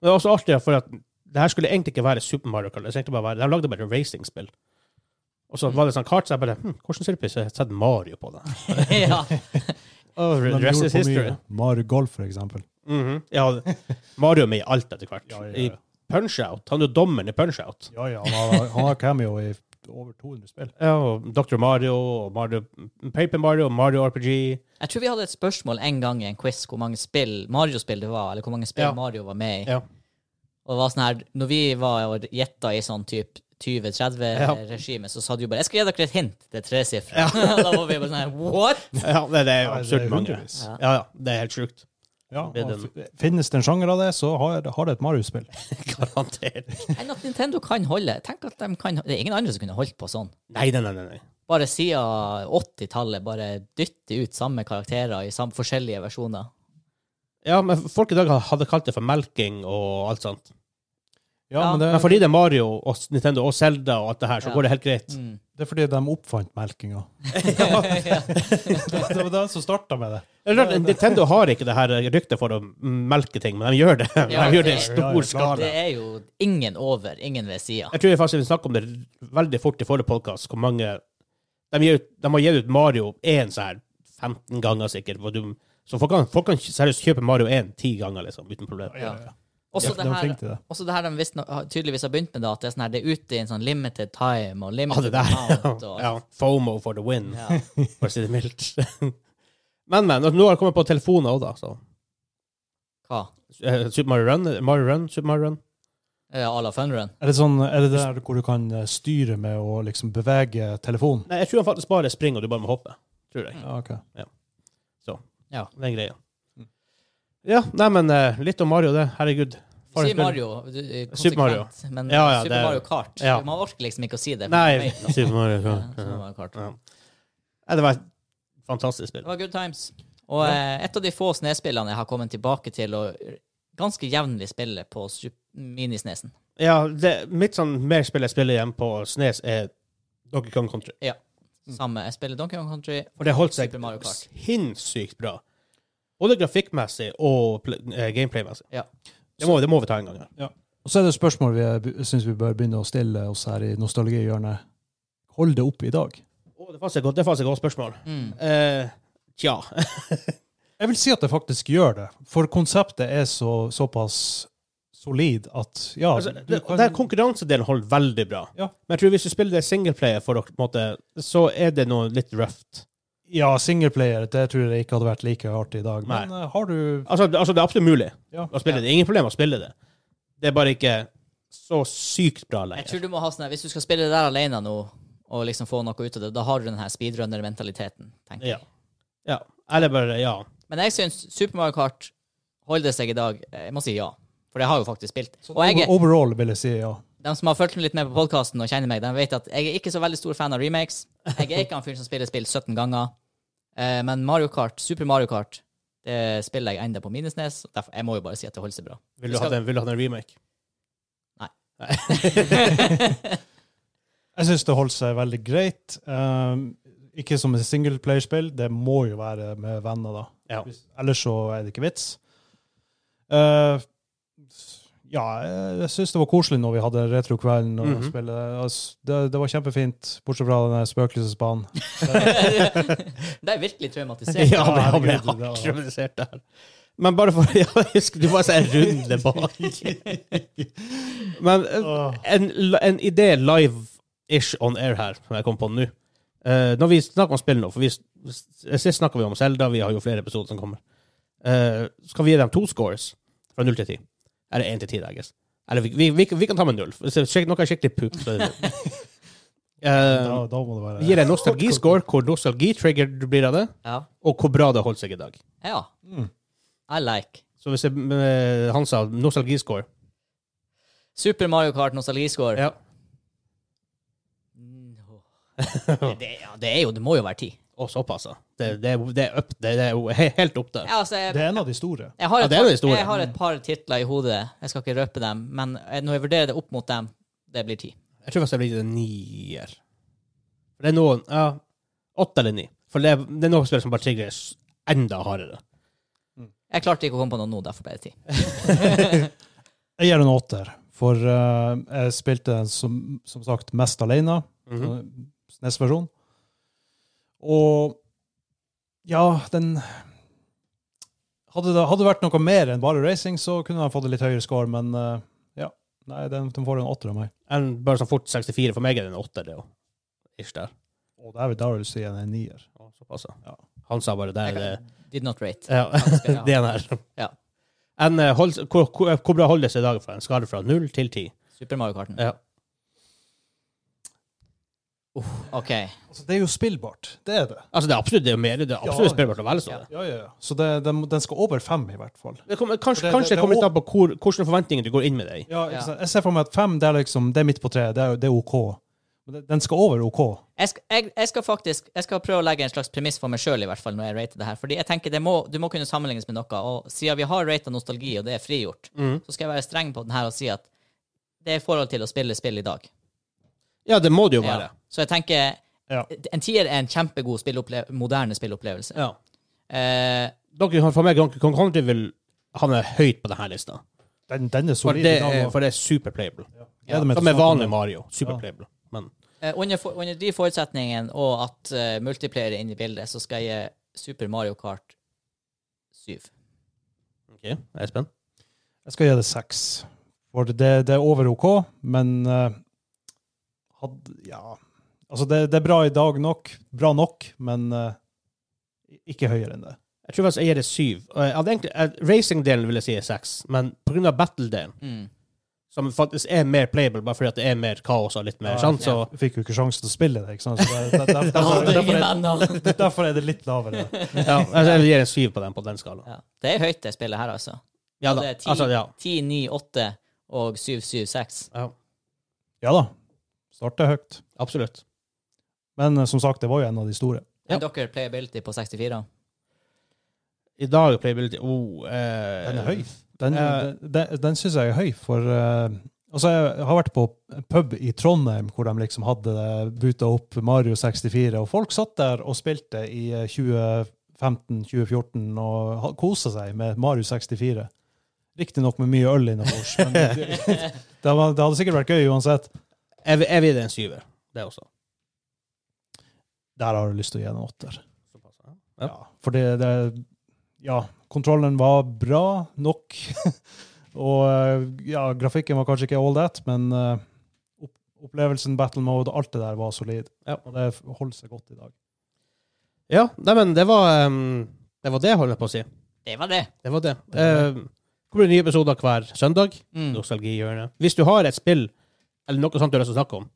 S1: Men det er også artig, for at det her skulle egentlig ikke være Super Mario Kart, det skulle egentlig bare være, de lagde bare et racing-spill. Og så var det sånn kart, så jeg bare, hm, hvordan ser det ut? Så jeg har sett Mario på det.
S2: ja.
S1: Oh,
S3: De
S1: the rest
S3: gjorde
S1: is
S3: for mye.
S1: history.
S3: Mario Golf, for eksempel.
S1: Mhm. Ja, Mario er med i alt etter hvert.
S3: Ja, ja, ja.
S1: I Punch-Out, han er jo dommeren i Punch-Out.
S3: Ja, ja, han har, han har cameo i over 200 spill.
S1: Ja, og Dr. Mario, og Mario, Paper Mario, og Mario RPG.
S2: Jeg tror vi hadde et spørsmål en gang i en quiz hvor mange spill Mario-spill det var, eller hvor mange spill
S1: Ja.
S2: Mario var med i.
S1: Ja.
S2: Og det var sånn her, når vi var og gjetta i sånn typ 20-30-regime, så sa du jo bare 'Jeg skal gi dere et hint'. Det er tresifra. da var vi bare sånn her, What?!
S1: Ja, det, det er
S3: Ja, det er
S1: absurd mange.
S3: hundrevis.
S1: Ja, ja, det er helt sjukt.
S3: Ja,
S1: Det er
S3: og f- finnes det en sjanger av det, så har, har det et Mario-spill.
S1: Garantert.
S2: Enn at Nintendo kan holde. Tenk at de kan Det er ingen andre som kunne holdt på sånn.
S1: Nei, nei, nei. nei, nei.
S2: Bare siden 80-tallet, bare dytte ut samme karakterer i sam forskjellige versjoner.
S1: Ja, men folk i dag hadde kalt det for melking og alt sånt.
S3: Ja,
S2: Ja.
S3: men det,
S1: Men fordi det er Mario og Nintendo og Zelda og alt det her, så
S2: Ja.
S1: går det helt greit.
S2: Mm.
S3: det er fordi de oppfant melkinga.
S2: ja.
S3: det var den som starta med det.
S1: Det er rart, Nintendo har ikke det her eh, ryktet for å melke ting, men de gjør det.
S2: Ja,
S1: De gjør det i
S2: det-
S3: Ja, ja,
S1: stor skala.
S2: Det er jo ingen over, ingen ved sida.
S1: Jeg tror jeg faktisk vi snakket om det veldig fort i forrige podkast, hvor mange de, gir ut, de har gitt ut Mario 1 så her 15 ganger, sikkert. hvor Du, så folk kan, folk kan seriøst kjøpe Mario 1 ti ganger, liksom, uten problem.
S2: Ja.
S3: De,
S2: Også
S3: de
S2: det
S3: er
S2: her,
S3: flinke til det.
S2: også det her de visst, tydeligvis har begynt med, da, at det er, sånn her, det er ute i en sånn limited time og
S1: Ja,
S2: limited
S1: det der.
S2: amount. Og,
S1: Ja, FOMO for the win.
S2: Ja.
S1: for å si det mildt. men, men. Nå har det kommet på telefoner òg, da. Så.
S2: Hva?
S1: Eh, Super Mario Run, eh, Mario Run, Super Mario Run.
S2: Ja, à la Funrun?
S3: Er det, sånn, er det der hvor du kan eh, styre med å liksom bevege telefonen?
S1: Nei, jeg tror han faktisk bare springer, og du bare må hoppe. Tror jeg.
S2: Mm.
S3: Ja, ok.
S2: Ja.
S1: Den greia.
S3: Mm.
S1: Ja, nei, men eh, litt om Mario, det. Herregud.
S2: Du
S1: Forrest
S2: sier Mario du, eh, konsekvent,
S1: Super Mario.
S2: men
S1: Ja, ja,
S2: Super
S1: det-
S2: Mario Kart.
S1: ja.
S2: Man orker liksom ikke å si det.
S1: Nei,
S2: Ja,
S1: Super Mario.
S2: ja,
S1: Ja,
S2: Super
S1: ja.
S2: Mario Kart.
S1: Ja. Nei, det var et fantastisk spill.
S2: Det var good times. Og eh, et av de få snespillene jeg har kommet tilbake til, og ganske jevnlig spille på Sup- minisnesen.
S1: Ja, det, mitt sånn mer spill jeg spiller igjen på Snes, er Donkey Kong Country.
S2: Samme. Jeg spiller Donkey Kong Country.
S1: Mm. Og det holdt seg
S2: Super Mario Kart.
S1: sinnssykt bra. Både grafikkmessig og pl- eh, gameplay-messig.
S2: Ja.
S1: Det, må, det må vi ta en gang. Ja.
S3: Og så er det et spørsmål vi syns vi bør begynne å stille oss her i nostalgihjørnet. Hold det opp i dag.
S1: Å, det er faktisk et godt, det er faktisk et godt spørsmål.
S2: Mm.
S1: Eh, tja.
S3: Jeg vil si at det faktisk gjør det, for konseptet er så, såpass solid at ja
S1: Altså,
S3: du
S1: det,
S3: kan-
S1: der konkurransedelen holder veldig bra.
S3: Ja.
S1: Men jeg tror hvis du spiller det singleplayer, for å, på en måte, så er det noe litt røft.
S3: Ja, singleplayer, det tror jeg ikke hadde vært like artig i dag. Men eh, har du
S1: Altså, det- altså, det er absolutt mulig
S3: Ja.
S1: å spille det. Ingen problem å spille det. Det er bare ikke så sykt bra
S2: Jeg
S1: lenger.
S2: tror du må ha sånn her, Hvis du skal spille det der alene nå, og liksom få noe ut av det, da har du den her speedrunner-mentaliteten. tenker jeg.
S1: Ja. ja. Eller bare Ja.
S2: Men jeg syns Super Mario Kart holder seg i dag. eh, Jeg må si ja. For jeg har jo faktisk spilt. Og jeg, er-
S3: Overall vil jeg si ja.
S2: de som har fulgt meg litt med på podkasten og kjenner meg, de vet at jeg er ikke så veldig stor fan av remakes. Jeg er ikke han fyren som spiller spill 17 ganger. Eh, Men Mario Kart, Super Mario Kart, det spiller jeg enda på Minesnes. Derfor, jeg må jo bare si at det holder seg bra.
S1: Vil
S2: Vi
S1: du ha
S2: skal-
S1: den, vil du ha den remake?
S3: Jeg syns det holdt seg veldig greit. Um, ikke som et singleplayerspill, det må jo være med venner, da.
S1: Ja.
S3: Hvis- Ellers så er det ikke vits. Uh, ja, jeg syns det var koselig når vi hadde retrokvelden. og
S1: Mhm.
S3: spille. Altså, det, det var kjempefint, bortsett fra den der spøkelsesbanen.
S2: det er virkelig traumatisert.
S1: Ja, men han ble
S3: herregud,
S1: hardt
S3: det var-
S1: traumatisert der. Men bare for ja, husk, Du var så en runde bak. Men eh,
S3: Åh.
S1: en, en idé live-ish on air her, som jeg kom på nå Eh, Når vi snakker om spill nå, for vi, s- sist snakka vi om Selda, vi har jo flere episoder som kommer. Eh, skal vi gi dem to scores fra null til ti? Eller én til ti, da, jeg guess. Eller vi, vi, vi, kan- vi kan ta med null. Hvis det er skikk- noe er skikkelig pup, så er det null.
S3: Da,
S1: Eh,
S3: da må det være
S1: vi gir en nostalgiscore, hvor nostalgitrigger du blir av det,
S2: Ja.
S1: og hvor bra det holdt seg i dag.
S2: ja.
S3: Mm.
S2: I like.
S1: Så hvis jeg, eh, han sa nostalgiscore
S2: Super Mario Kart nostalgiscore.
S1: Ja.
S2: Mm, åh. Det, ja, det er jo Det må jo være ti.
S1: Og såpass, ja. Det, det, er- det er opp, det, det er jo he- helt opp der.
S2: Ja, altså, jeg,
S3: Det er en av de store.
S2: jeg, har
S1: Ja,
S2: et
S1: det er jo
S2: par,
S1: historie.
S2: jeg har et par titler i hodet. Jeg skal ikke røpe dem, men eh, når jeg vurderer det opp mot dem, Det blir ti.
S1: Jeg tror faktisk det blir en nier. For det er noen Ja, åtte eller ni. For det er, det er noen spill som bare triggeres enda hardere.
S2: Jeg klarte ikke å komme på noe nå, derfor ble det ti.
S3: Jeg gir en åtter, for eh, jeg spilte den som, som sagt mest alene.
S1: Mhm.
S3: SNES-versjon. E Og ja, den hadde det, hadde det vært noe mer enn bare racing, så kunne den fått en litt høyere score, men eh, ja. Nei, den, den får en åtter av meg.
S1: En bare sånn fort 64 for meg er det en åtter, det òg. Ish der.
S3: Og der vil Daryl si en nier.
S1: Ja, Såpass, ja.
S3: Ja.
S1: Han sa bare det
S2: Jeg
S1: er det.
S2: kan- Did not rate.
S1: Ja,
S2: skal jeg ha.
S1: det er den her.
S2: Ja.
S1: En, eh, hold, hvor, hvor, hvor bra holder det seg i dag fra en skade fra null til ti?
S2: Super Mario Karten.
S1: Ja.
S2: OK.
S3: Altså, det er jo spillbart. Det er det.
S1: Altså, det er absolutt det er jo mer, det er absolutt
S3: Ja.
S1: spillbart å velge sånn.
S3: Ja, ja, ja. Så det, den, den skal over fem, i hvert fall.
S1: Det kommer, kanskje
S3: For det-
S1: kanskje
S3: det-
S1: det kommer
S3: det-
S1: litt an på hvor, hvilke forventninger du går inn med det i.
S3: Ja, ikke
S2: Ja.
S3: sant? Jeg ser for meg at fem det er liksom, det er midt på treet. Det er, det er OK. Men den- den skal over OK.
S2: Jeg skal, jeg, jeg skal faktisk Jeg skal prøve å legge en slags premiss for meg sjøl, i hvert fall, når jeg rater det her. Fordi jeg tenker det må, du må kunne sammenlignes med noe. Og siden vi har rata nostalgi, og det er frigjort,
S1: Mm.
S2: så skal jeg være streng på den her og si at det er i forhold til å spille spill i dag.
S1: Ja, det må det jo
S2: Ja.
S1: være.
S2: Så jeg tenker
S3: Ja.
S2: En tier er en kjempegod spillople moderne spillopplevelse.
S1: Ja.
S2: Eh,
S1: Donkey Kong, for meg, Donkey Kong Country vil havne høyt på denne lista.
S3: Den, den er
S1: For
S3: solid.
S1: det
S3: i dag,
S1: er,
S3: og-
S1: for det er superplayable.
S3: Gleder meg til
S1: Som
S3: å
S1: er
S3: snakke om
S1: vanlig
S3: det.
S1: Mario. Superplayable. Men
S2: eh, under, for, under de forutsetningene og at eh, multiplayer er inne i bildet, så skal jeg gi Super Mario Kart 7.
S1: OK, jeg er spent.
S3: Jeg skal gi det seks. For det, det er over OK, men eh, hadde, Ja. Altså, det, det er bra i dag nok. Bra nok, men eh, ikke høyere enn det.
S1: Jeg tror faktisk jeg gir det syv. Og jeg hadde egentlig- eh, Racing-delen vil jeg si er seks, men pga. battle-delen,
S2: Mm.
S1: som faktisk er mer playable, bare fordi at det er mer kaos og litt mer,
S3: Ja,
S1: sant,
S2: ja.
S1: så
S3: Jeg fikk jo ikke sjansen til å spille det, ikke sant? Så det, det, derfor,
S2: Jeg hadde
S3: derfor,
S2: ingen
S3: er,
S2: venner.
S3: derfor er det litt lavere.
S1: ja, altså, jeg gir en syv på den, på den skalaen.
S2: Ja. Det er høyt, det spillet her, altså.
S1: Ja da.
S2: det er ti.
S1: Altså, ja.
S2: 10, 9, 8 og 7, 7, 6.
S1: ja.
S3: Ja da. Starter høyt.
S1: Absolutt.
S3: Men eh, som sagt, det var jo en av de store.
S1: Ja.
S2: Er dere playability på 64?
S1: I dag er playability oh, eh,
S3: Den er høy. Den,
S1: Eh.
S3: den, den syns jeg er høy, for eh, Altså, jeg har vært på pub i Trondheim hvor de liksom hadde buta opp Mario 64, og folk satt der og spilte i eh, 2015-2014 og ha- kosa seg med Mario 64. Riktignok med mye øl innabords, men det, det, var, det hadde sikkert vært gøy uansett.
S1: Jeg, vil- jeg vil gi det en syver, det også.
S3: Der har du lyst til å gi den en åtter.
S1: Ja.
S3: Ja, for det, det Ja, kontrollen var bra nok. og eh, ja, grafikken var kanskje ikke all that, men eh, opp opplevelsen, battle mode, alt det der var solid.
S1: Ja.
S3: Og det holder seg godt i dag.
S1: Ja, nei, men det var ehm, Det var det jeg holdt på å si.
S2: Det var det.
S1: Det var det.
S3: Det var
S1: Ehm, det kommer nye episoder hver søndag.
S2: Mm.
S1: Nostalgihjørnet. Hvis du har et spill eller noe sånt du har lyst til å snakke om,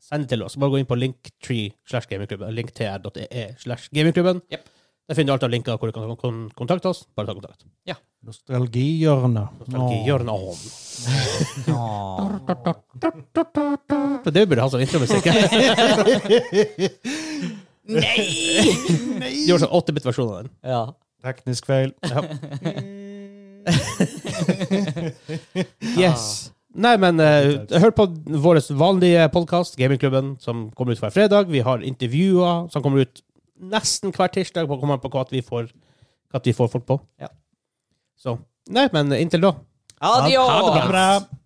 S1: send det til oss. Bare gå inn på linktree slash gamingklubben. linktr.ee slash gamingklubben.
S2: Jep.
S1: Der finner du alt av linker hvor du kan kon- kontakte oss. Bare ta kontakt.
S3: Nostalgihjørnet.
S1: Nostalgihjørnet. Åh.
S2: Åh.
S1: For Det burde ha sånn intromusikk.
S2: Nei!
S1: Gjør sånn 8-bit-versjon av den.
S2: Ja.
S3: Teknisk feil.
S1: Yes. Nei, men eh, hør på vår vanlige podkast, Gamingklubben, som kommer ut hver fredag. Vi har intervjuer som kommer ut nesten hver tirsdag, på kommer an på hva vi får, hva vi får folk på.
S2: Ja.
S1: Så Nei, men inntil da.
S2: Adios!
S1: Ha det bra.
S3: Bra.